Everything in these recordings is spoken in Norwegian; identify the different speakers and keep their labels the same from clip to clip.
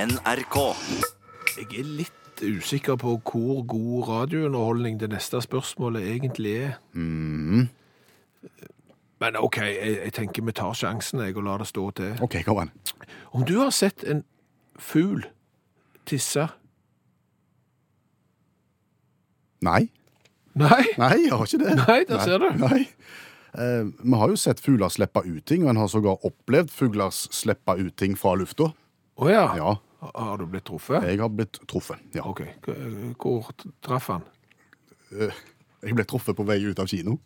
Speaker 1: NRK.
Speaker 2: Jeg er litt usikker på hvor god radiounderholdning det neste spørsmålet egentlig er.
Speaker 3: Mm-hmm.
Speaker 2: Men OK, jeg, jeg tenker vi tar sjansen jeg, og lar det stå til.
Speaker 3: OK, kom an.
Speaker 2: Om du har sett en fugl tisse
Speaker 3: Nei.
Speaker 2: Nei?
Speaker 3: Nei, jeg har ikke det.
Speaker 2: Nei, der ser du.
Speaker 3: Nei. Eh, vi har jo sett fugler slippe ut ting, og en har sågar opplevd fugler slippe ut ting fra lufta.
Speaker 2: Å ja.
Speaker 3: Ja,
Speaker 2: Har du blitt truffet?
Speaker 3: jeg har blitt truffet. Ja.
Speaker 2: OK. K- Hvor t- traff han?
Speaker 3: Eh, Jeg ble truffet på vei ut av kino.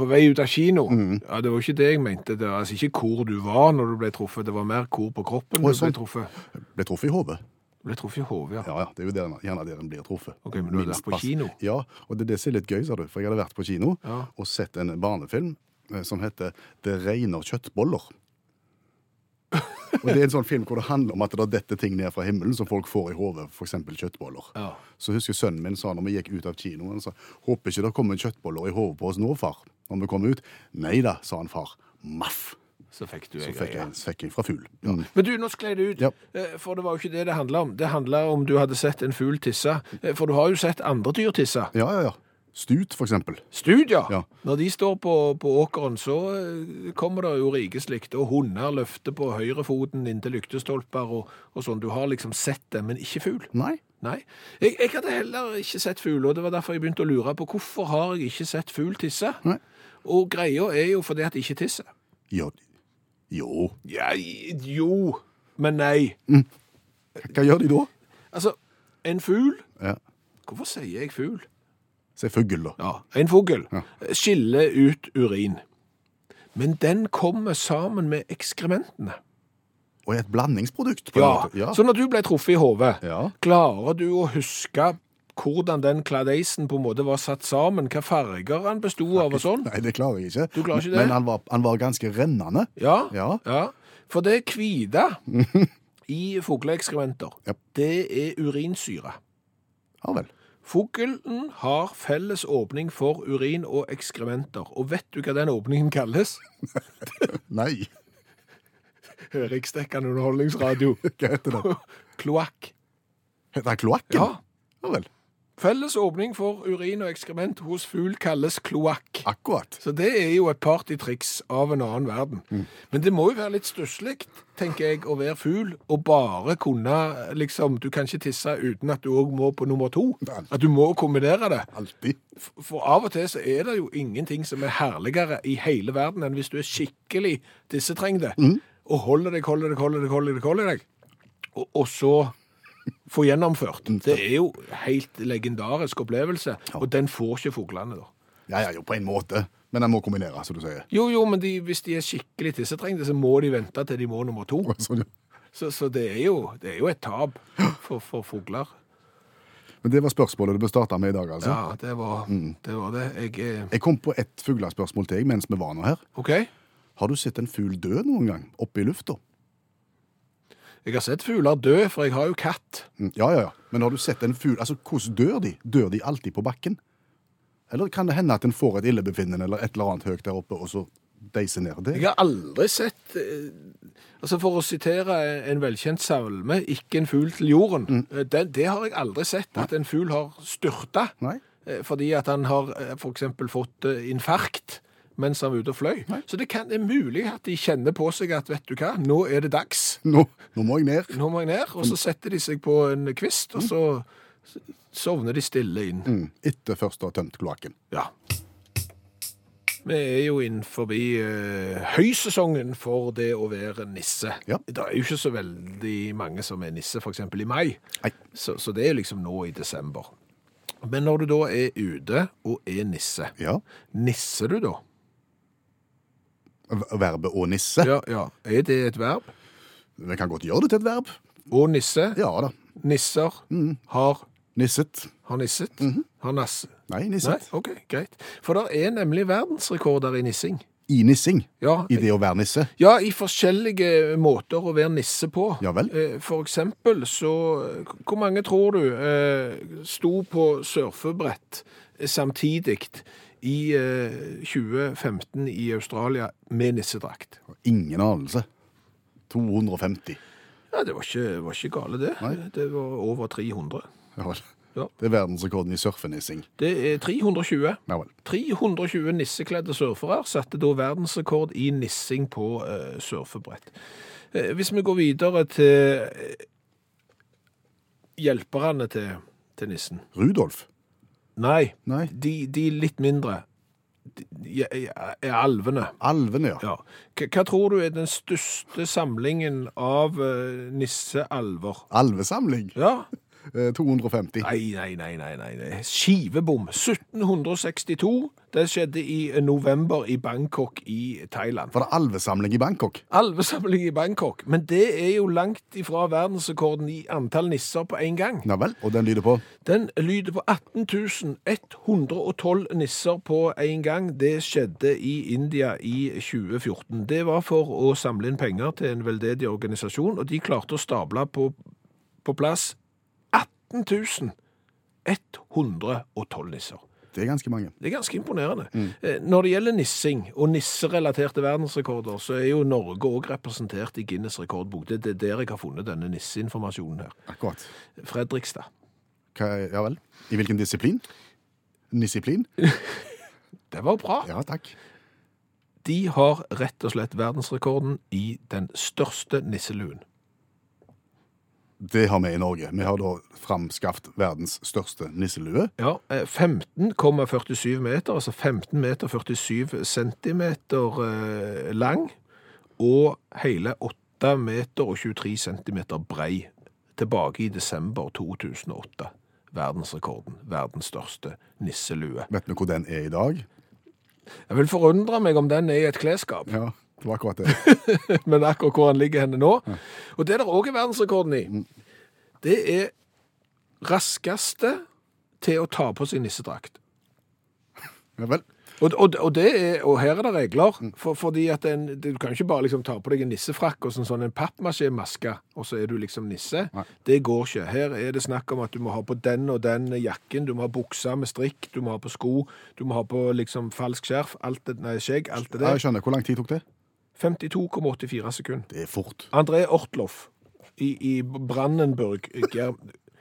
Speaker 2: På vei ut av kino?
Speaker 3: Mm-hmm.
Speaker 2: Ja, Det var ikke det jeg mente. Det var altså ikke hvor du var når du ble truffet, det var mer hvor på kroppen
Speaker 3: Å,
Speaker 2: du ble
Speaker 3: sånn.
Speaker 2: truffet.
Speaker 3: Ble truffet i hodet.
Speaker 2: Du Ble truffet i hodet, ja.
Speaker 3: Ja, ja, det er jo der, gjerne der en blir truffet.
Speaker 2: Ok, men du har
Speaker 3: Minst
Speaker 2: vært på
Speaker 3: pass-
Speaker 2: kino?
Speaker 3: Ja, og det er det som er litt gøy, sa du. For jeg hadde vært på kino
Speaker 2: Ja.
Speaker 3: og sett en barnefilm eh, som heter Det regner kjøttboller. og det er en sånn film hvor det handler om at det detter ting ned fra himmelen som folk får i hodet, f.eks. kjøttboller.
Speaker 2: Ja.
Speaker 3: Så husker jeg sønnen min sa når vi gikk ut av kinoen, sa håper ikke det kommer kjøttboller i hodet på oss nå, far. Når vi kom ut. Nei da, sa han far. Maff.
Speaker 2: Så fikk du en
Speaker 3: Så fikk jeg
Speaker 2: greie.
Speaker 3: en svekking fra fugl. Ja.
Speaker 2: Men du, nå skled det ut,
Speaker 3: Ja.
Speaker 2: eh, for det var jo ikke det det handla om. Det handla om du hadde sett en fugl tisse. Eh, For du har jo sett andre dyr tisse.
Speaker 3: ja, ja, ja. Stut, for eksempel.
Speaker 2: Studier!
Speaker 3: Ja.
Speaker 2: Når de står på, på åkeren, så eh, kommer det jo rikeslikt, og hunder løfter på høyrefoten inntil lyktestolper og, og sånn. Du har liksom sett det, men ikke fugl.
Speaker 3: Nei.
Speaker 2: Nei. Jeg, jeg hadde heller ikke sett fugl, og det var derfor jeg begynte å lure på hvorfor har jeg ikke sett fugl tisse?
Speaker 3: Nei.
Speaker 2: Og greia er jo fordi at de ikke tisser.
Speaker 3: Jo. jo.
Speaker 2: Ja, jo, men nei.
Speaker 3: Hva gjør de da?
Speaker 2: Altså, en fugl
Speaker 3: Ja.
Speaker 2: Hvorfor sier jeg fugl?
Speaker 3: Se fugl, da.
Speaker 2: Ja, en fugl
Speaker 3: Ja.
Speaker 2: skiller ut urin. Men den kommer sammen med ekskrementene.
Speaker 3: Og et blandingsprodukt. på en
Speaker 2: Ja,
Speaker 3: måte. ja.
Speaker 2: Så når du ble truffet i hodet,
Speaker 3: Ja.
Speaker 2: klarer du å huske hvordan den kladeisen på en måte var satt sammen? Hva farger han besto av og sånn?
Speaker 3: Nei, det klarer jeg ikke.
Speaker 2: Du klarer ikke
Speaker 3: Men-
Speaker 2: det?
Speaker 3: Men han var, han var ganske rennende.
Speaker 2: Ja,
Speaker 3: Ja.
Speaker 2: For det hvite i fugleekskrementer,
Speaker 3: Ja.
Speaker 2: det er urinsyre.
Speaker 3: Ja vel.
Speaker 2: Fuglen har felles åpning for urin og ekskrementer. Og vet du hva den åpningen kalles?
Speaker 3: Nei.
Speaker 2: Høringsdekkende underholdningsradio.
Speaker 3: Hva heter det?
Speaker 2: Kloakk.
Speaker 3: Heter det kloakken?
Speaker 2: Ja.
Speaker 3: ja vel.
Speaker 2: Felles åpning for urin og ekskrement hos fugl kalles kloakk.
Speaker 3: Akkurat.
Speaker 2: Så det er jo et partytriks av en annen verden. Men det må jo være litt stusslig, tenker jeg, å være fugl og bare kunne liksom Du kan ikke tisse uten at du òg må på nummer to.
Speaker 3: Nei.
Speaker 2: At du må kombinere det.
Speaker 3: Alltid.
Speaker 2: F- For av og til så er det jo ingenting som er herligere i hele verden enn hvis du er skikkelig dissetrengte og holder deg, holder deg, holder deg, holder deg, holder deg, og, og så få gjennomført. Det er jo helt legendarisk opplevelse, og den får ikke fuglene, da.
Speaker 3: Ja, ja, jo, på en måte. Men den må kombinere, som du sier.
Speaker 2: Jo, jo, men de, hvis de er skikkelig tissetrengte, så må de vente til de må nummer to.
Speaker 3: Sånn, ja.
Speaker 2: Så, så det, er jo, det er jo et tap for, for fugler.
Speaker 3: Men det var spørsmålet du bør starte med i dag, altså.
Speaker 2: Ja, det var det. Var det. Jeg er
Speaker 3: Jeg kom på ett fuglespørsmål til jeg mens vi var nå her.
Speaker 2: OK. Jeg
Speaker 3: Har du sett en fugl dø noen gang? Oppe i lufta?
Speaker 2: har sett fugler dø, for jeg har jo katt.
Speaker 3: Mm, Ja, ja, ja. Men har du sett en fugl Altså, hvordan dør de? Dør de alltid på bakken? Eller kan det hende at en får et illebefinnende eller et eller annet høyt der oppe, og så deiser ned det?
Speaker 2: Jeg har aldri sett eh, Altså For å sitere en velkjent salme, 'Ikke en fugl til jorden', eh, det, det har jeg aldri sett. At en fugl har styrta
Speaker 3: Nei?
Speaker 2: eh, fordi at han har f.eks. fått eh, infarkt mens han var ute og fløy. Så det kan, det er mulig at de kjenner på seg at 'vet du hva, nå er det dags'.
Speaker 3: Nå, nå må jeg ned.
Speaker 2: Nå må jeg ned, og så setter de seg på en kvist, og så s- sovner de stille inn.
Speaker 3: Mm, etter først å ha tømt kloakken.
Speaker 2: Ja. Vi er jo inn forbi eh, høysesongen for det å være nisse.
Speaker 3: Ja.
Speaker 2: Det er jo ikke så veldig mange som er nisse, f.eks. i mai,
Speaker 3: Nei.
Speaker 2: så, så det er liksom nå i desember. Men når du da er ute og er nisse,
Speaker 3: Ja.
Speaker 2: nisser du da?
Speaker 3: V- Verbet å nisse.
Speaker 2: Ja, ja. Er det et verb?
Speaker 3: Vi kan godt gjøre det til et verb.
Speaker 2: Å nisse?
Speaker 3: Ja da.
Speaker 2: Nisser
Speaker 3: Mm.
Speaker 2: har,
Speaker 3: Nisset.
Speaker 2: har nisset? Har nasse?
Speaker 3: Nei,
Speaker 2: Nei,
Speaker 3: Mhm. nisset.
Speaker 2: ok, greit. For det er nemlig verdensrekorder i nissing.
Speaker 3: I nissing.
Speaker 2: Ja,
Speaker 3: I det å være nisse.
Speaker 2: ja, i forskjellige måter å være nisse på.
Speaker 3: Ja vel.
Speaker 2: Eh, For eksempel så Hvor mange tror du eh, sto på surfebrett samtidig i eh, 2015 i Australia med nissedrakt?
Speaker 3: Ingen anelse. 250.
Speaker 2: Ja, det var ikke, var ikke gale, det. Det var over 300.
Speaker 3: Ja vel.
Speaker 2: Ja.
Speaker 3: Det er verdensrekorden i surfenissing.
Speaker 2: Det er 320.
Speaker 3: Ja vel.
Speaker 2: 320 nissekledde surfere satte da verdensrekord i nissing på eh, surfebrett. Eh, hvis vi går videre til eh, hjelperne til, til nissen.
Speaker 3: Rudolf?
Speaker 2: Nei,
Speaker 3: Nei.
Speaker 2: de, de litt mindre. De, de er, er alvene.
Speaker 3: Alvene, ja.
Speaker 2: Ja. Hva, hva tror du er den største samlingen av eh, nissealver?
Speaker 3: Alvesamling?
Speaker 2: Ja?
Speaker 3: Eh, 250.
Speaker 2: Nei, nei, nei, nei, nei. nei. Skivebom. 1762. Det skjedde i november i Bangkok i Thailand.
Speaker 3: Var det alvesamling i Bangkok?
Speaker 2: Alvesamling i Bangkok. Men det er jo langt ifra verdensrekorden i antall nisser på én gang.
Speaker 3: Ja vel. Og den lyder på
Speaker 2: Den lyder på 18 112 nisser på én gang. Det skjedde i India i 2014. Det var for å samle inn penger til en veldedig organisasjon, og de klarte å stable på, på plass 18 112 nisser.
Speaker 3: Det er ganske mange.
Speaker 2: Det er ganske imponerende. Eh, Når det gjelder nissing og nisserelaterte verdensrekorder, så er jo Norge òg representert i Guinness rekordbok. Det det er der jeg har funnet denne nisseinformasjonen her.
Speaker 3: Akkurat.
Speaker 2: Fredrikstad.
Speaker 3: Hva, ja vel. I hvilken disiplin? Nisiplin?
Speaker 2: Det var bra.
Speaker 3: Ja takk.
Speaker 2: De har rett og slett verdensrekorden i den største nisseluen.
Speaker 3: Det har vi i Norge. Vi har da framskaffet verdens største nisselue.
Speaker 2: Ja, eh, 15,47 meter, altså 15 meter 47 centimeter eh, lang, og hele 8 meter og 23 centimeter brei, tilbake i desember 2008. Verdensrekorden, verdens største nisselue.
Speaker 3: Vet vi hvor den er i dag?
Speaker 2: Jeg vil forundre meg om den er i et klesskap,
Speaker 3: Ja, det var akkurat det.
Speaker 2: men akkurat hvor den ligger henne nå. Og det der også er verdensrekorden i, det er raskeste til å ta på sin nissedrakt.
Speaker 3: Ja vel.
Speaker 2: Og, og, og, det er, og her er det regler, for, fordi at en, du kan ikke bare liksom ta på deg en nissefrakk og sånn, sånn en pappmasjé-maske, og så er du liksom nisse.
Speaker 3: Nei.
Speaker 2: Det går ikke. Her er det snakk om at du må ha på den og den jakken, du må ha buksa med strikk, du må ha på sko, du må ha på liksom falsk skjerf, alt det, nei, skjegg, alt det
Speaker 3: Ja, jeg
Speaker 2: der.
Speaker 3: skjønner. Hvor lang tid tok det?
Speaker 2: 52,84 sekunder.
Speaker 3: Det er fort.
Speaker 2: André Ortloff i, i Brandenburg, Ger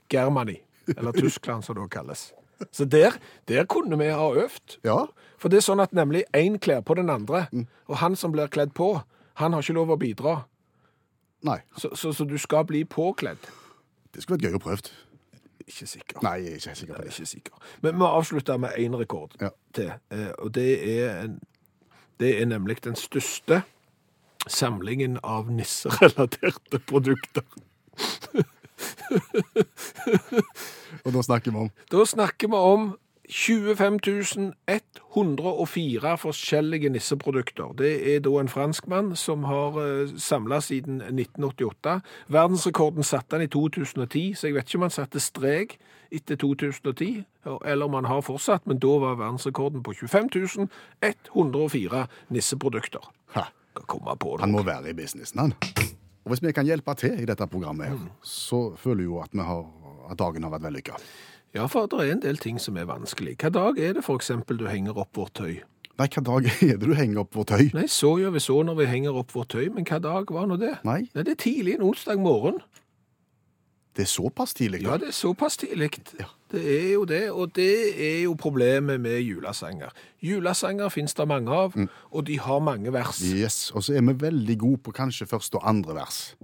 Speaker 2: Germany, eller Tyskland som det også kalles. Så der, der kunne vi ha øvd.
Speaker 3: Ja.
Speaker 2: For det er sånn at nemlig én kler på den andre, og han som blir kledd på, han har ikke lov å bidra.
Speaker 3: Nei.
Speaker 2: Så, så, så du skal bli påkledd.
Speaker 3: Det skulle vært gøy å prøve.
Speaker 2: Ikke sikker.
Speaker 3: Nei, jeg er ikke helt
Speaker 2: Jeg
Speaker 3: sikker på
Speaker 2: er
Speaker 3: det.
Speaker 2: ikke sikker. Men vi avslutter med én rekord
Speaker 3: Ja.
Speaker 2: til, eh, og det er, en, det er nemlig den største samlingen av nisserelaterte produkter.
Speaker 3: Og da snakker vi om
Speaker 2: Da snakker vi om 25 104 forskjellige nisseprodukter. Det er da en franskmann som har samla siden 1988. Verdensrekorden satte han i 2010, så jeg vet ikke om han satte strek etter 2010, eller om han har fortsatt, men da var verdensrekorden på 25 104 nisseprodukter.
Speaker 3: ha,
Speaker 2: Skal komme på det.
Speaker 3: Han må være i businessen, han. Og hvis vi kan hjelpe til i dette programmet, her, så føler jeg jo at, vi har, at dagen har vært vellykka.
Speaker 2: Ja, for det er en del ting som er vanskelig. Hva dag er det for eksempel du henger opp vårt tøy?
Speaker 3: Nei, hva dag er det du henger opp vårt tøy?
Speaker 2: Nei, så gjør vi så når vi henger opp vårt tøy, men hva dag var nå det?
Speaker 3: Nei,
Speaker 2: Nei, det er tidlig en onsdag morgen.
Speaker 3: det er såpass tidlig.
Speaker 2: Ja, det er såpass tidlig.
Speaker 3: Ja.
Speaker 2: Det er jo det, og det er jo problemet med julesanger. Julesanger finnes det mange av,
Speaker 3: Mm.
Speaker 2: og de har mange vers.
Speaker 3: Yes, Og så er vi veldig gode på kanskje første og andre vers.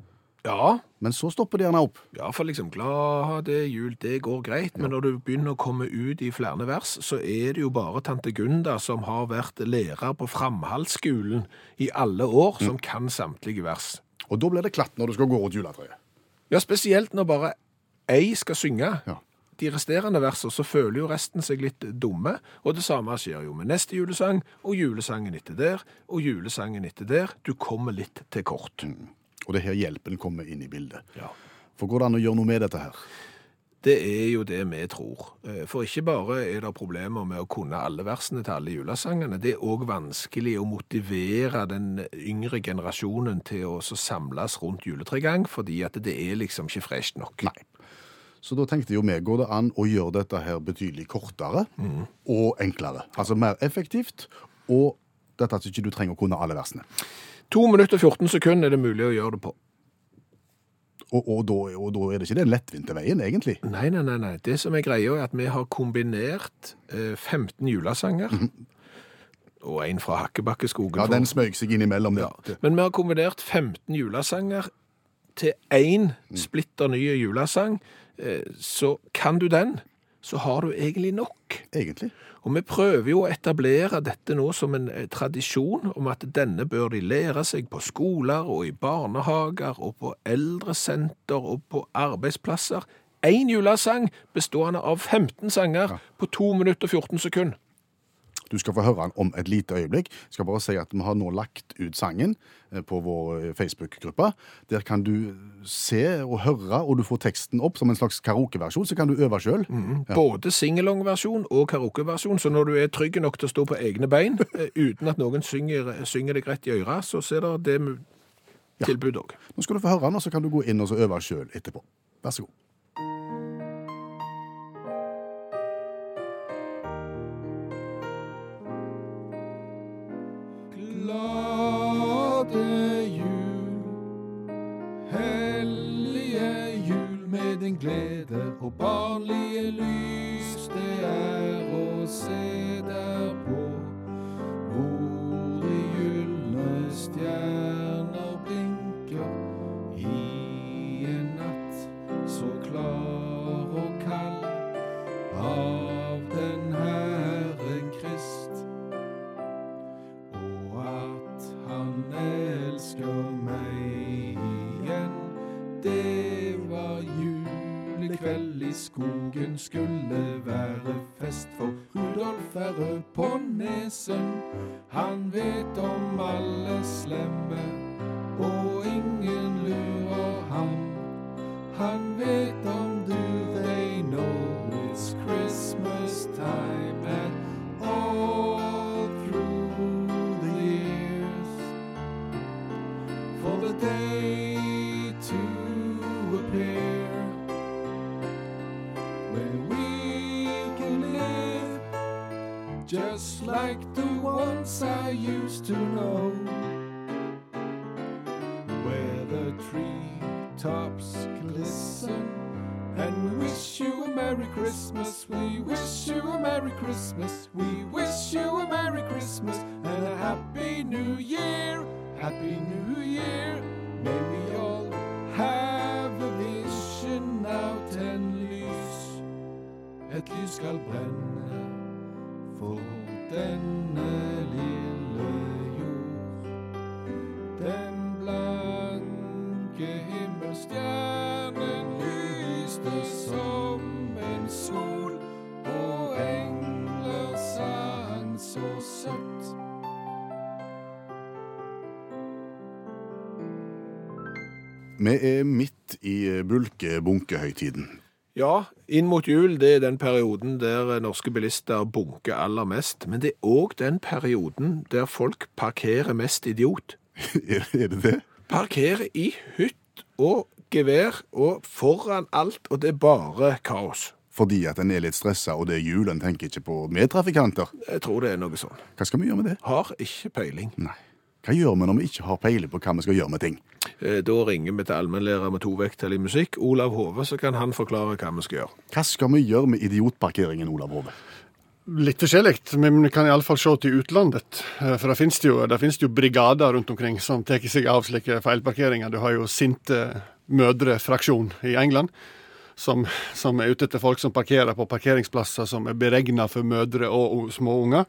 Speaker 2: Ja,
Speaker 3: Men så stopper det gjerne opp.
Speaker 2: ja for liksom glade jul, det går greit, men når du begynner å komme ut i flere vers, så er det jo bare tante Gunda som har vært lærer på Framhalsskolen i alle år,
Speaker 3: Mm.
Speaker 2: som kan samtlige vers.
Speaker 3: Og da blir det klatt når du skal gå rundt juletreet.
Speaker 2: Ja, spesielt når bare ei skal synge.
Speaker 3: Ja.
Speaker 2: De resterende versene, så føler jo resten seg litt dumme, og det samme skjer jo med neste julesang, og julesangen etter der, og julesangen etter der. Du kommer litt til kort.
Speaker 3: Og det er her hjelpen kommer inn i bildet.
Speaker 2: Ja.
Speaker 3: For går det an å gjøre noe med dette her?
Speaker 2: Det er jo det vi tror. Eh, For ikke bare er det problemer med å kunne alle versene til alle julesangene, det er òg vanskelig å motivere den yngre generasjonen til å så samles rundt juletregang, fordi at det er liksom ikke fresht nok.
Speaker 3: Nei. Så da tenkte jo vi, går det an å gjøre dette her betydelig kortere
Speaker 2: Mhm.
Speaker 3: og enklere? Altså mer effektivt, og dette at ikke du trenger å kunne alle versene.
Speaker 2: To minutter og 14 sekunder er det mulig å gjøre det på.
Speaker 3: Og, og, da, og da er det ikke den lettvinte veien, egentlig.
Speaker 2: Nei, nei, nei, nei. Det som er greia er at vi har kombinert eh, 15 julesanger og en fra Hakkebakkeskogen.
Speaker 3: Mhm. Ja,
Speaker 2: for-
Speaker 3: Den smøg seg innimellom. Det.
Speaker 2: Ja. Men vi har kombinert 15 julesanger til én
Speaker 3: Mhm.
Speaker 2: splitter ny julesang. Eh, Så kan du den, så har du egentlig nok.
Speaker 3: Egentlig.
Speaker 2: Og vi prøver jo å etablere dette nå som en eh, tradisjon om at denne bør de lære seg på skoler og i barnehager og på eldresenter og på arbeidsplasser. Én julesang bestående av 15 sanger på 2 minutter og 14 sekunder.
Speaker 3: Du skal få høre den om et lite øyeblikk. Jeg skal bare si at Vi har nå lagt ut sangen eh, på vår eh, Facebook-gruppe. Der kan du se og høre, og du får teksten opp som en slags karaokeversjon. Så kan du øve sjøl.
Speaker 2: Mm. Både singalong-versjon og karaoke-versjon, så når du er trygg nok til å stå på egne bein eh, uten at noen synger, eh, synger deg rett i øret, så ser det det mu- tilbud òg.
Speaker 3: Nå skal du få høre den, og så kan du gå inn og så øve sjøl etterpå. Vær så god.
Speaker 2: Glade jul, hellige jul med din glede og barnlige lys det er å se der på hvor de gylne stjerner blinker i en natt så klar og kald av den Herre Krist og at han elsker meg igjen. Det var julekveld i skogen, skulle være fest for Rudolf er rød på nesen. Han vet om alle slemme, og ingen lurer ham. Han vet om du, they know it's Christmas time and all through the years. For the day to appear when we can live just like the ones I used to know where the treetops glisten. And we wish you a Merry Christmas, we wish you a Merry Christmas, we wish you a Merry Christmas and a Happy New Year, Happy New Year. May we all have a vision out and lys. Et lys skal brenne for denne lille jord. Den blanke himmelstjernen lyste som en sol, og engler sang så søtt.
Speaker 3: Vi er midt i eh, bulkebunkehøytiden.
Speaker 2: Ja, inn mot jul, det er den perioden der norske bilister bunker aller mest, men det er òg den perioden der folk parkerer mest idiot.
Speaker 3: er er det det?
Speaker 2: Parkerer i hytt og gevær og foran alt, og det er bare kaos.
Speaker 3: Fordi at en er litt stressa, og det er jul, en tenker ikke på medtrafikanter.
Speaker 2: Jeg tror det er noe sånn.
Speaker 3: Hva skal vi gjøre med det?
Speaker 2: Har ikke peiling.
Speaker 3: Nei. Hva gjør vi når vi ikke har peiling på hva vi skal gjøre med ting?
Speaker 2: Eh, Da ringer vi til allmennlærer med to vekttall i musikk, Olav Hove, så kan han forklare hva vi skal gjøre.
Speaker 3: Hva skal vi gjøre med idiotparkeringen, Olav Hove?
Speaker 1: Litt forskjellig, men vi kan iallfall se til utlandet. Eh, For det finnes det jo, det finnes det jo brigader rundt omkring som tar seg av slike feilparkeringer. Du har jo sinte mødrefraksjon i England, som, som er ute etter folk som parkerer på parkeringsplasser som er beregna for mødre og o- små unger.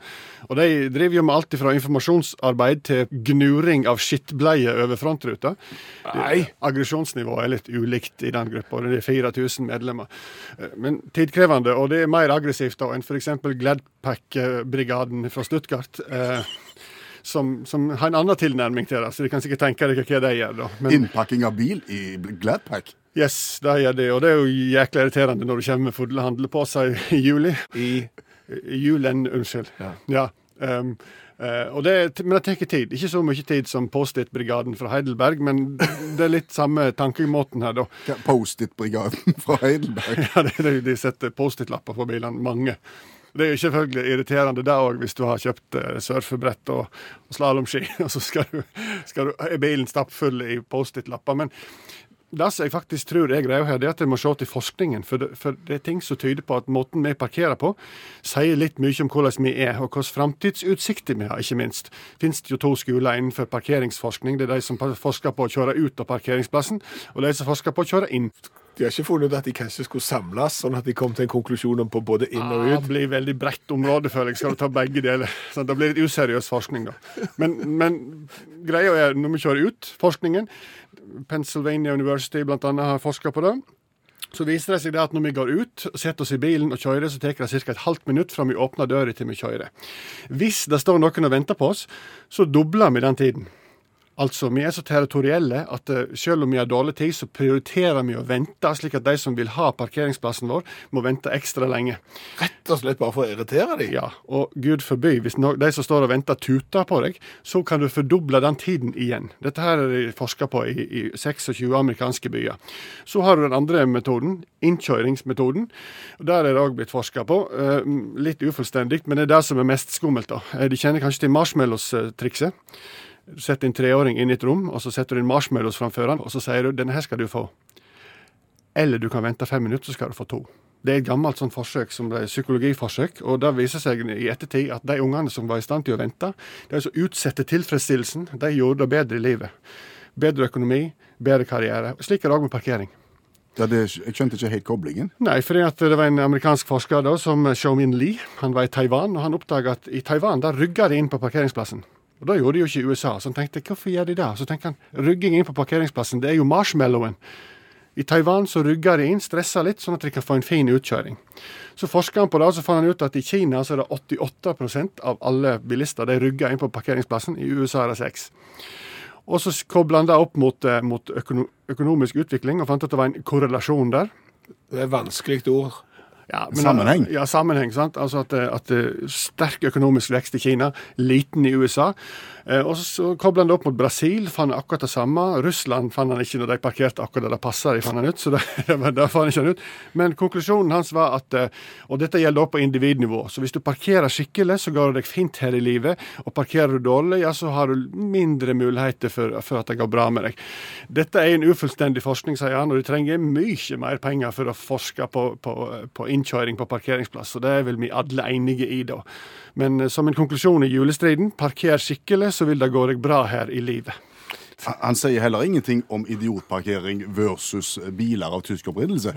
Speaker 1: Og de driver jo med alt fra informasjonsarbeid til gnuring av skittbleier over frontruta.
Speaker 2: Nei.
Speaker 1: Aggresjonsnivået er litt ulikt i den gruppa. Det er 4000 medlemmer. Eh, Men tidkrevende, og det er mer aggressivt da enn f.eks. Gladpack-brigaden fra Stuttgart. eh, Som, som har en annen tilnærming til det, så de kan sikkert tenke dere hva de gjør. da. Men
Speaker 3: Innpakking av bil i Gladpack?
Speaker 1: yes, de gjør det, og det er jo jækla irriterende når du kommer med fulle handleposer i juli.
Speaker 2: I
Speaker 1: I Julen, unnskyld.
Speaker 2: Ja.
Speaker 1: Ja. ehm, eh, og det, men det tar tid. Ikke så mye tid som Post-It-brigaden fra Heidelberg, men det er litt samme tankemåten her, da.
Speaker 3: Hva- Post-it-brigaden fra Heidelberg?
Speaker 1: Ja, det, det, de setter Post-It-lapper på bilene, mange. Det er jo selvfølgelig irriterende det òg, hvis du har kjøpt eh, surfebrett og, og slalåmski, og så skal du, skal du, er bilen stappfull i Post-It-lapper. Men Det som jeg faktisk tror er greia her, det er at jeg må se til forskningen. For det, for det er ting som tyder på at måten vi parkerer på, sier litt mye om hvordan vi er, og hvilke framtidsutsikter vi har, ikke minst. Fins det jo to skoler innenfor parkeringsforskning. Det er de som forsker på å kjøre ut av parkeringsplassen, og de som forsker på å kjøre inn.
Speaker 2: De har ikke funnet ut at de kanskje skulle samles, sånn at de kom til en konklusjon om på både inn og
Speaker 1: Ja,
Speaker 2: ut.
Speaker 1: Det Ah, blir veldig bredt område, føler jeg. Skal du ta begge deler? Så det blir litt useriøs forskning, da. Men, men greia er, når vi kjører ut forskningen Pennsylvania University blant annet har forska på det. Så viser det seg det at når vi går ut, setter oss i bilen og kjører, så tar det ca. et halvt minutt fra vi åpner døra til vi kjører. Hvis det står noen og venter på oss, så dobler vi den tiden. Altså, Vi er så territorielle at eh, selv om vi har dårlig tid, så prioriterer vi å vente, slik at de som vil ha parkeringsplassen vår, må vente ekstra lenge.
Speaker 2: Rett og slett bare for å irritere dem.
Speaker 1: Ja, og gud forby, hvis no de som står og venter tuter på deg, så kan du fordoble den tiden igjen. Dette her er det forska på i, i 26 amerikanske byer. Så har du den andre metoden, innkjøringsmetoden. og Der er det òg blitt forska på. Eh, litt ufullstendig, men det er det som er mest skummelt. da. Eh, De kjenner kanskje til marshmallows-trikset. Du setter en treåring inn i et rom, og så setter du en marshmallows framfor han, og så sier du 'denne her skal du få'. Eller du kan vente fem minutter, så skal du få to. Det er et gammelt sånn forsøk som ble psykologiforsøk, og det viser seg i ettertid at de ungene som var i stand til å vente, de som utsatte tilfredsstillelsen, de gjorde det bedre i livet. Bedre økonomi, bedre karriere. Slik er det òg med parkering.
Speaker 3: Ja, det, jeg skjønte ikke helt koblingen.
Speaker 1: Nei, fordi at det var en amerikansk forsker da, som Xiaomin Lee. Han var i Taiwan, og han oppdaga at i Taiwan der rygga de inn på parkeringsplassen. Og Det gjorde de jo ikke i USA. Så han tenkte hvorfor gjør de det? Så tenker han rygging inn på parkeringsplassen, det er jo marshmallowen. I Taiwan så rygger de inn, stresser litt, sånn at de kan få en fin utkjøring. Så forsker han på det, og så fant han ut at i Kina så er det 88 av alle bilister de rygger inn på parkeringsplassen. I USA er det 6 Og så s- kobler han det opp mot, eh, mot økono økonomisk utvikling, og fant at det var en korrelasjon der.
Speaker 2: Det er et vanskelig ord.
Speaker 1: Ja,
Speaker 3: Sammenheng.
Speaker 1: Ja, sammenheng, sant? Altså at, eh, at eh, Sterk økonomisk vekst i Kina, liten i USA. Eh, og Så kobla han det opp mot Brasil, fant akkurat det samme. Russland fant han ikke når de parkerte akkurat der det passa de, fant han ut. så det, det, var- det fant han ikke ut. Men konklusjonen hans var at eh, Og dette gjelder også på individnivå. Så hvis du parkerer skikkelig, så går det deg fint her i livet. Og parkerer du dårlig, ja, så har du mindre muligheter for, for at det går bra med deg. Dette er en ufullstendig forskning, sier han, og de trenger mye mer penger for å forske på, på, på innkjøring på parkeringsplass, og det er vel vi alle enige i, da. Men eh, som en konklusjon i julestriden, parker skikkelig, så vil det gå deg bra her i livet.
Speaker 3: Han- Han sier heller ingenting om idiotparkering versus biler av tysk opprinnelse.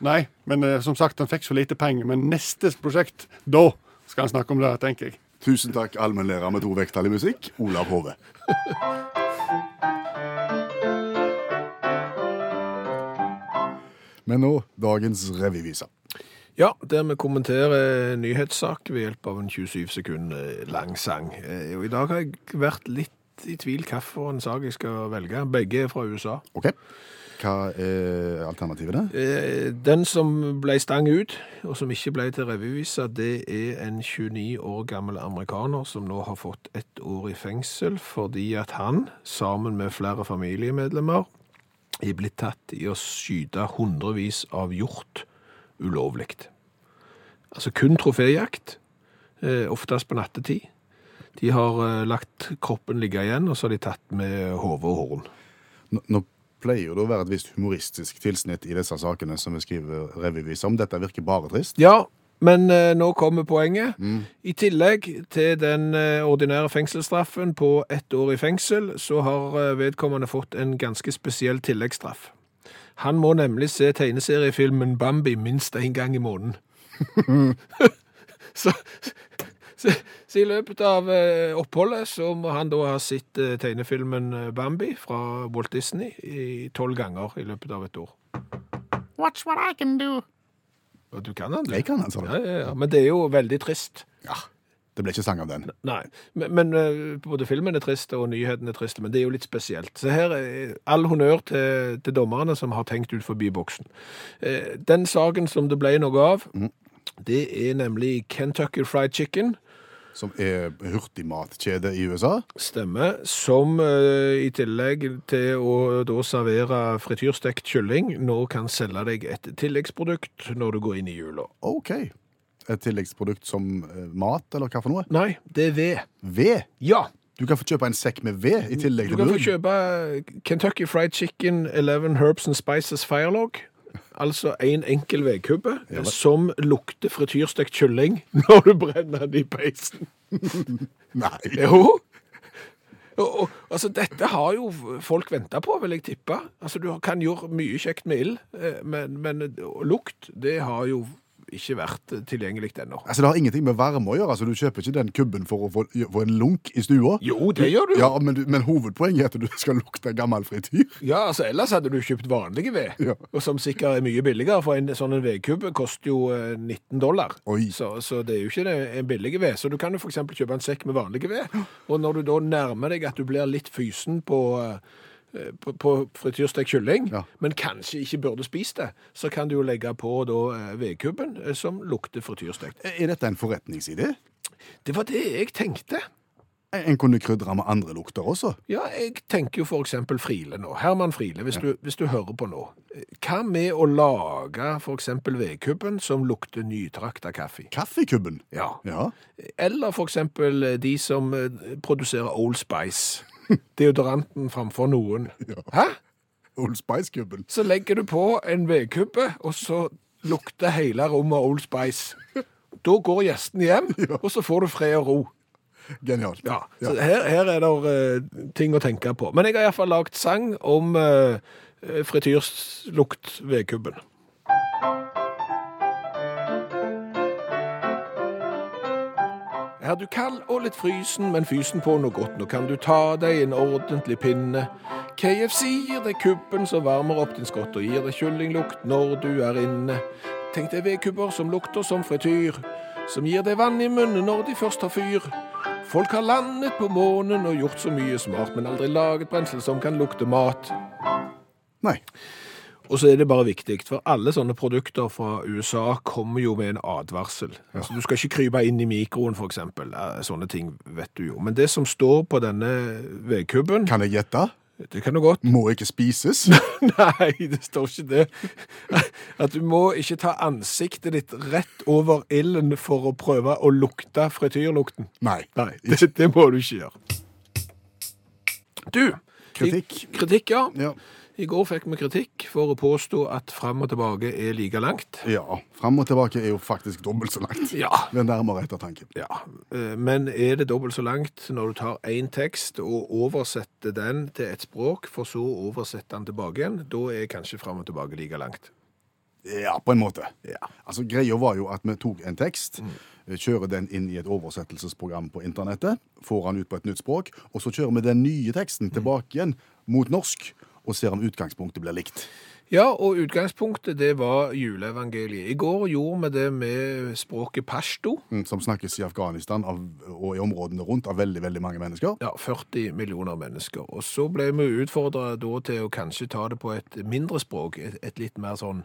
Speaker 1: Nei, men eh, som sagt, han fikk så lite penger, men neste prosjekt, da skal han snakke om det, tenker jeg.
Speaker 3: Tusen takk, allmennlærer med to vekttall i musikk, Olav Hove. Men nå dagens revyvise.
Speaker 2: Ja, der vi kommenterer nyhetssak ved hjelp av en 27 sekund eh, lang sang. Eh, Og i dag har jeg vært litt i tvil hvilken sak jeg skal velge. Begge er fra USA.
Speaker 3: OK. Hva er alternativet der?
Speaker 2: Eh, Den som ble stang ut, og som ikke ble til revyvisa, det er en 29 år gammel amerikaner som nå har fått ett år i fengsel fordi at han, sammen med flere familiemedlemmer, er blitt tatt i å skyte hundrevis av hjort ulovlig. Altså kun troféjakt, eh, oftest på nattetid. De har eh, lagt kroppen ligge igjen, og så har de tatt med hode og horn.
Speaker 3: Nå, nå pleier det å være et visst humoristisk tilsnitt i disse sakene som vi skriver revyvise om. Dette virker bare trist.
Speaker 2: Ja, men eh, nå kommer poenget. I tillegg til den eh, ordinære fengselsstraffen på ett år i fengsel, så har eh, vedkommende fått en ganske spesiell tilleggsstraff. Han må nemlig se tegneseriefilmen Bambi minst én gang i måneden. så, så, så i løpet av eh, oppholdet så må han da ha sett eh, tegnefilmen eh, Bambi fra Walt Disney i tolv ganger i løpet av et år.
Speaker 4: Watch what I can do.
Speaker 2: Og du kan den, du.
Speaker 3: Jeg kan den, sa du.
Speaker 2: Ja, ja, ja. Men det er jo veldig trist.
Speaker 3: Ja, det ble ikke sang av den.
Speaker 2: Nei, men, men eh, både filmen er trist og nyheten er trist, men det er jo litt spesielt. Så her er all honnør til, til dommerne som har tenkt ut forbi boksen. Eh, Den saken som det ble noe av, det er nemlig Kentucky Fried Chicken,
Speaker 3: Som er hurtigmatkjede i USA.
Speaker 2: stemme, som eh, i tillegg til å da servere frityrstekt kylling, nå kan selge deg et tilleggsprodukt når du går inn i jula.
Speaker 3: OK. Et tilleggsprodukt som eh, mat, eller hva for noe?
Speaker 2: Nei, det er ved.
Speaker 3: Ved.
Speaker 2: Ja,
Speaker 3: Du Du kan få kjøpe en sekk med ved i tillegg
Speaker 2: Du
Speaker 3: til
Speaker 2: kan få
Speaker 3: brun.
Speaker 2: kjøpe eh, Kentucky Fried Chicken 11 Herbs and Spices Firelog. Altså en enkel vedkubbe som lukter frityrstekt kylling når du brenner den i peisen.
Speaker 3: Nei.
Speaker 2: Jo. Og, og, altså, dette har jo folk venta på, vil jeg tippe. Altså, du kan gjøre mye kjekt med ild, eh, men, men lukt, det har jo ikke vært tilgjengelig ennå.
Speaker 3: Altså, Det har ingenting med varme å gjøre. altså Du kjøper ikke den kubben for å få, få en lunk i stua.
Speaker 2: Jo, det gjør du.
Speaker 3: Ja, men, du- men hovedpoenget er at du skal lukte gammel frityr.
Speaker 2: Ja, altså Ellers hadde du kjøpt vanlige ved,
Speaker 3: Ja.
Speaker 2: og som sikkert er mye billigere. For en sånn en vedkubbe koster jo eh, 19 dollar,
Speaker 3: Oi.
Speaker 2: så, så det er jo ikke det, en billig ved. Så du kan jo f.eks. kjøpe en sekk med vanlige ved, og når du da nærmer deg at du blir litt fysen på eh, på, på frityrstekt kylling,
Speaker 3: Ja.
Speaker 2: men kanskje ikke burde spise det, så kan du jo legge på da eh, vedkubben eh, som lukter frityrstekt.
Speaker 3: Er dette en forretningsidé?
Speaker 2: Det var det jeg tenkte.
Speaker 3: En kunne krydre med andre lukter også.
Speaker 2: Ja, jeg tenker jo for eksempel Friele nå. Herman Friele, hvis, du, hvis du hører på nå. Hva med å lage for eksempel vedkubben som lukter nytrakta kaffe?
Speaker 3: Kaffekubben.
Speaker 2: Ja.
Speaker 3: Ja.
Speaker 2: Eller for eksempel de som eh, produserer Old Spice. Deodoranten framfor noen. Hæ?
Speaker 3: Old Spice-kubben.
Speaker 2: Så legger du på en vedkubbe, og så lukter hele rommet Old Spice. Da går gjestene hjem, og så får du fred og ro.
Speaker 3: Genialt.
Speaker 2: Ja, så her, her er det ting å tenke på. Men jeg har iallfall lagd sang om uh, frityrslukt ved kubben. Er du kald og litt frysen, men fysen på noe godt, nå kan du ta deg en ordentlig pinne. KFC gir deg kubben som varmer opp din skott og gir deg kyllinglukt når du er inne. Tenk deg vedkubber som lukter som frityr, som gir deg vann i munnen når de først har fyr. Folk har landet på månen og gjort så mye smart, men aldri laget brensel som kan lukte mat.
Speaker 3: Nei.
Speaker 2: Og så er det bare viktig, for alle sånne produkter fra USA kommer jo med en advarsel. Altså, du skal ikke krype inn i mikroen, for eksempel. Eh, Sånne ting vet du jo. Men det som står på denne vedkubben,
Speaker 3: Kan jeg gjette?
Speaker 2: det kan du godt.
Speaker 3: Må ikke spises.
Speaker 2: Nei, det står ikke det. At du må ikke ta ansiktet ditt rett over ilden for å prøve å lukte frityrlukten.
Speaker 3: Nei.
Speaker 2: Nei, det, det må du ikke gjøre. Du,
Speaker 3: Kritikk.
Speaker 2: I, kritikk, ja.
Speaker 3: Ja.
Speaker 2: I går fikk vi kritikk for å påstå at fram og tilbake er like langt.
Speaker 3: ja. Fram og tilbake er jo faktisk dobbelt så langt.
Speaker 2: Ja.
Speaker 3: Det er nærmere ettertanke.
Speaker 2: Ja, eh, men er det dobbelt så langt når du tar én tekst og oversetter den til et språk, for så å oversette den tilbake igjen? Da er kanskje fram og tilbake like langt.
Speaker 3: Ja, på en måte.
Speaker 2: Ja. Mm.
Speaker 3: Altså, Greia var jo at vi tok en tekst, kjører den inn i et oversettelsesprogram på internettet, får han ut på et nytt språk, og så kjører vi den nye
Speaker 2: Mm.
Speaker 3: teksten tilbake igjen mot norsk, og ser om utgangspunktet blir likt.
Speaker 2: Ja, og utgangspunktet det var juleevangeliet. I går gjorde vi det med språket pashto.
Speaker 3: Mm, Som snakkes i Afghanistan av, og i områdene rundt av veldig, veldig mange mennesker.
Speaker 2: Ja, 40 millioner mennesker. Og så ble vi utfordra da til å kanskje ta det på et mindre språk, et, et litt mer sånn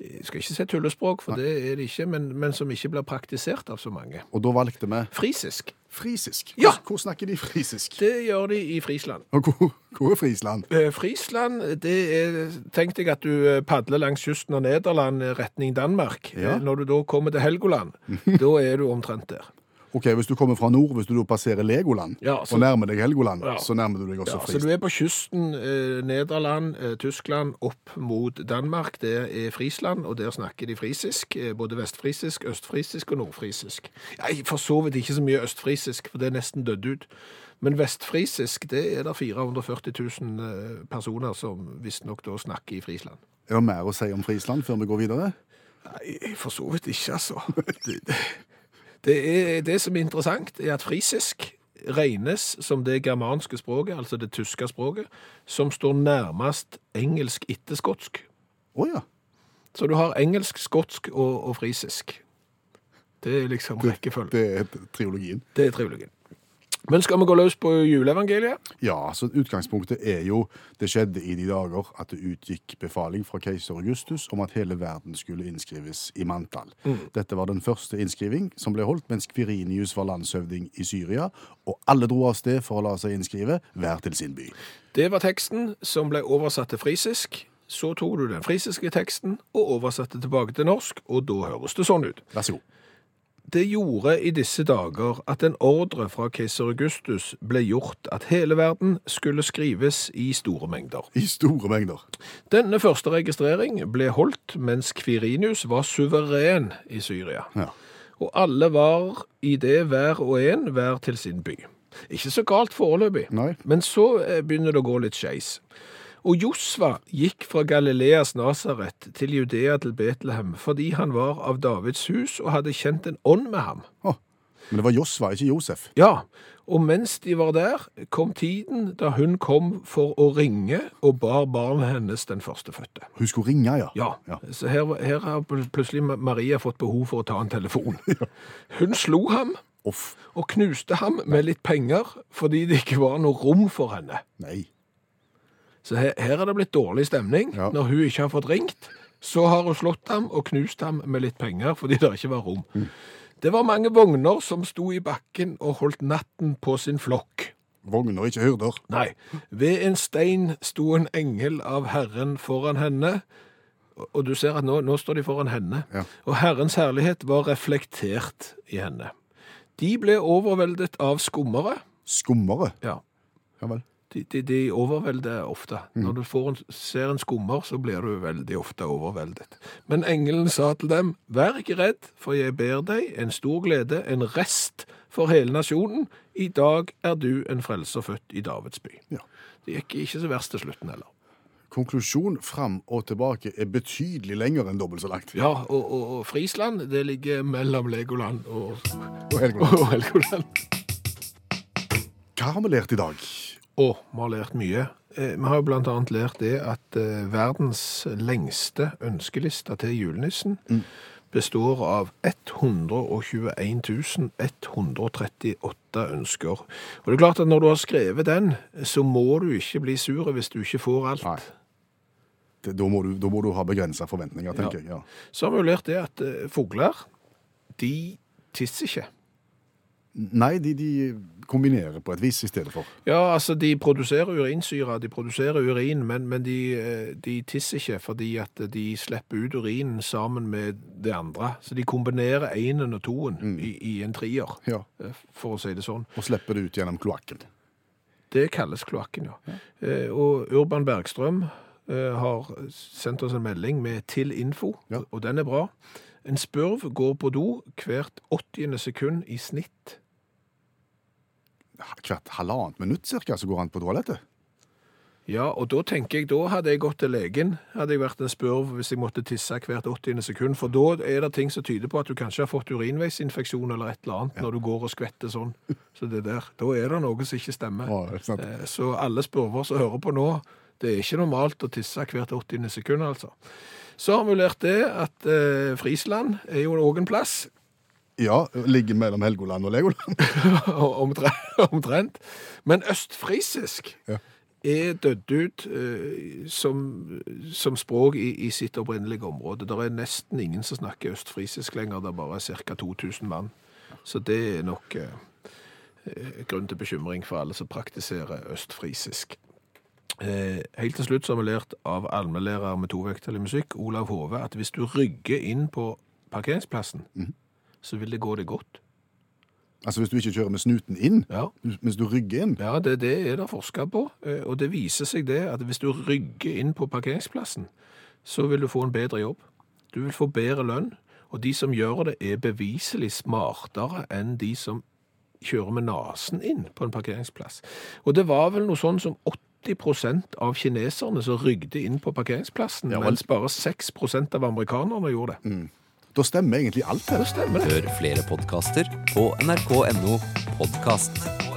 Speaker 2: eh, Skal ikke si tullespråk, for det er det ikke, men, men som ikke blir praktisert av så mange.
Speaker 3: Og da valgte vi
Speaker 2: Frisisk.
Speaker 3: frisisk.
Speaker 2: Ja!
Speaker 3: Hvor, hvor snakker de frisisk?
Speaker 2: Det gjør de i Frisland.
Speaker 3: Og hvor, hvor er Frisland?
Speaker 2: Eh, Frisland, det er Tenk deg at du eh, padler langs kysten av Nederland eh, retning Danmark.
Speaker 3: Ja.
Speaker 2: Eh, Når du da kommer til Helgoland, da er du omtrent der.
Speaker 3: Ok, Hvis du kommer fra nord, hvis du da passerer Legoland
Speaker 2: Ja, så-
Speaker 3: og nærmer deg Helgoland,
Speaker 2: Ja.
Speaker 3: så nærmer du deg også
Speaker 2: Ja, så du
Speaker 3: Frisland.
Speaker 2: er på kysten eh, Nederland, eh, Tyskland, opp mot Danmark. Det er Frisland, og der snakker de frisisk. Eh, både vestfrisisk, østfrisisk og nordfrisisk. Nei, for så vidt ikke så mye østfrisisk, for det er nesten dødd ut. Men vestfrisisk, det er det 440 000 eh, personer som visstnok da snakker i Frisland.
Speaker 3: Er det mer å si om Frisland før vi går videre?
Speaker 2: Nei, for så vidt ikke, altså. Det, det, er, det som er interessant, er at frisisk regnes som det germanske språket, altså det tyske språket, som står nærmest engelsk etter skotsk.
Speaker 3: Å ja.
Speaker 2: Så du har engelsk, skotsk og, og frisisk. Det er liksom rekkefølgen.
Speaker 3: Det er triologien.
Speaker 2: Det er trivelig. Men skal vi gå løs på juleevangeliet?
Speaker 3: Ja, så utgangspunktet er jo det skjedde i de dager at det utgikk befaling fra keiser Augustus om at hele verden skulle innskrives i manntall. Dette var den første innskriving som ble holdt mens Kvirinius var landshøvding i Syria, og alle dro av sted for å la seg innskrive, hver til sin by.
Speaker 2: Det var teksten som ble oversatt til frisisk. Så tok du den frisiske teksten og oversatte tilbake til norsk, og da høres det sånn ut.
Speaker 3: Vær så god.
Speaker 2: Det gjorde i disse dager at en ordre fra keiser Augustus ble gjort at hele verden skulle skrives i store mengder.
Speaker 3: I store mengder.
Speaker 2: Denne første registrering ble holdt mens Kvirinius var suveren i Syria.
Speaker 3: Ja.
Speaker 2: Og alle var i det hver og en, hver til sin by. Ikke så galt foreløpig,
Speaker 3: Nei.
Speaker 2: men så eh, begynner det å gå litt skeis. Og Josva gikk fra Galileas Nasaret til Judea til Betlehem, fordi han var av Davids hus og hadde kjent en ånd med ham.
Speaker 3: Å, Men det var Josva, ikke Josef.
Speaker 2: Ja, og mens de var der, kom tiden da hun kom for å ringe og bar barnet hennes den førstefødte.
Speaker 3: Hun skulle ringe, ja.
Speaker 2: Ja,
Speaker 3: Ja.
Speaker 2: så her, her har pl- plutselig Ma- Maria fått behov for å ta en telefon. Hun slo ham
Speaker 3: Off.
Speaker 2: og knuste ham med litt penger fordi det ikke var noe rom for henne.
Speaker 3: Nei.
Speaker 2: Så her, her er det blitt dårlig stemning.
Speaker 3: Ja.
Speaker 2: Når hun ikke har fått ringt, så har hun slått ham og knust ham med litt penger fordi det ikke var rom.
Speaker 3: Mm.
Speaker 2: Det var mange vogner som sto i bakken og holdt natten på sin flokk.
Speaker 3: Vogner, ikke hyrder.
Speaker 2: Nei, ved en stein sto en engel av Herren foran henne, og- og du ser at nå, nå står de foran henne,
Speaker 3: Ja.
Speaker 2: og Herrens herlighet var reflektert i henne. De ble overveldet av skummere,
Speaker 3: Skummere.
Speaker 2: ja,
Speaker 3: Ja vel.
Speaker 2: de, de, de overvelder ofte.
Speaker 3: Mm.
Speaker 2: Når du får en, ser en skummer, så blir du veldig ofte overveldet. Men engelen sa til dem, vær ikke redd, for jeg ber deg en stor glede, en rest for hele nasjonen. I dag er du en frelser født i Davids by.
Speaker 3: Ja.
Speaker 2: Det gikk ikke så verst til slutten heller.
Speaker 3: Konklusjon fram og tilbake er betydelig lenger enn dobbelt så langt.
Speaker 2: Ja, og, og, og Frisland, det ligger mellom Legoland og,
Speaker 3: Og Helgoland,
Speaker 2: og Helgoland.
Speaker 3: Hva har vi lært i dag?
Speaker 2: Og vi har lært mye. Eh, Vi har jo blant annet lært det at eh, verdens lengste ønskeliste til julenissen består av 121 138 ønsker. Og det er klart at når du har skrevet den, så må du ikke bli sur hvis du ikke får alt.
Speaker 3: Nei. Det, da, må du, da må du ha begrensa forventninger, tenker jeg. Ja.
Speaker 2: Så har vi jo lært det at eh, fugler, de tisser ikke.
Speaker 3: Nei, de, de kombinerer på et vis i stedet for.
Speaker 2: Ja, altså de produserer urinsyre, de produserer urin, men, men de, eh, de tisser ikke fordi at de slipper ut urinen sammen med det andre. Så de kombinerer enen og toen i, i en trier,
Speaker 3: Ja.
Speaker 2: eh, for å si det sånn.
Speaker 3: Og slipper det ut gjennom kloakken.
Speaker 2: Det kalles kloakken, ja. Eh, Og Urban Bergstrøm eh, har sendt oss en melding med til info,
Speaker 3: Ja.
Speaker 2: og den er bra. En spurv går på do hvert 80. sekund i snitt.
Speaker 3: Hvert halvannet minutt cirka, så går han på toalettet.
Speaker 2: Ja, og da tenker jeg, da hadde jeg gått til legen, hadde jeg vært en spurv hvis jeg måtte tisse hvert 80. sekund, for da er det ting som tyder på at du kanskje har fått urinveisinfeksjon eller et eller annet når du går og skvetter sånn. Så det der, da er det noe som ikke stemmer.
Speaker 3: Ja, det er sant.
Speaker 2: Eh, Så alle spurver som hører på nå, det er ikke normalt å tisse hvert 80. sekund, altså. Så har vi lært det at eh, Frisland er jo også en plass,
Speaker 3: Ja, ligger mellom Helgoland og Legoland.
Speaker 2: omtrent. omtrent. Men østfrisisk
Speaker 3: Ja.
Speaker 2: er dødd ut eh, som, som språk i, i sitt opprinnelige område. Det er nesten ingen som snakker østfrisisk lenger, det er bare ca. 2000 mann. Så det er nok eh, eh, grunn til bekymring for alle som praktiserer østfrisisk. Eh, helt til slutt så har vi lært av allmennlærer med tovektig musikk, Olav Hove, at hvis du rygger inn på parkeringsplassen, så vil det gå deg godt.
Speaker 3: Altså Hvis du ikke kjører med snuten inn,
Speaker 2: Ja.
Speaker 3: mens du rygger inn
Speaker 2: Ja, det, det er det forska på, eh, og det viser seg det at hvis du rygger inn på parkeringsplassen, så vil du få en bedre jobb. Du vil få bedre lønn, og de som gjør det, er beviselig smartere enn de som kjører med nesen inn på en parkeringsplass. Og det var vel noe sånn som 80 av kineserne som rygde inn på parkeringsplassen,
Speaker 3: Ja, vel.
Speaker 2: mens bare 6 av amerikanerne gjorde det.
Speaker 3: Da stemmer egentlig alt her.
Speaker 2: Det stemmer, det.
Speaker 5: Hør flere podkaster på nrk.no podkast.